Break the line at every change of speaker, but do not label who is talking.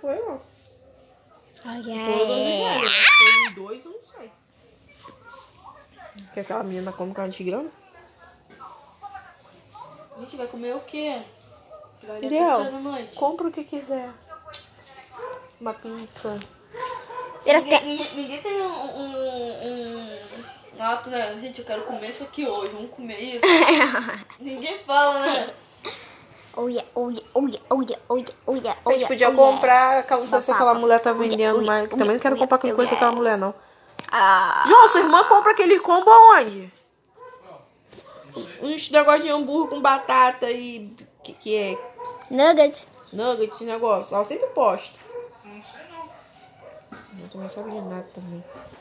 foi lá. Todas
Olha.
iguais. né? Teve dois, eu não sei. Que aquela menina come carne de grana?
Gente, vai comer o quê? Vai dar
Léo,
sete horas da noite.
compra o que quiser. Uma pizza.
Eles
Ninguém,
têm-
ninguém- ninguém tem um, um, um ato, né? Gente, eu quero comer isso aqui hoje, vamos comer isso. ninguém fala, né?
Olha, olha, olha, olha, olha,
A
olha.
gente
olha,
podia tipo,
olha.
comprar aquela, não sei se aquela mulher tá vendendo,
Ui,
mas
ui,
também não quero
ui,
comprar aquela coisa
ui.
daquela mulher, não.
oh, Ah,
João, sua irmã compra aquele combo aonde? Uns negócio de hambúrguer com batata e. O que, que é?
nuggets.
Nuggets, esse negócio. Ela sempre posta. Não sei não. Eu também não sabe de nada também.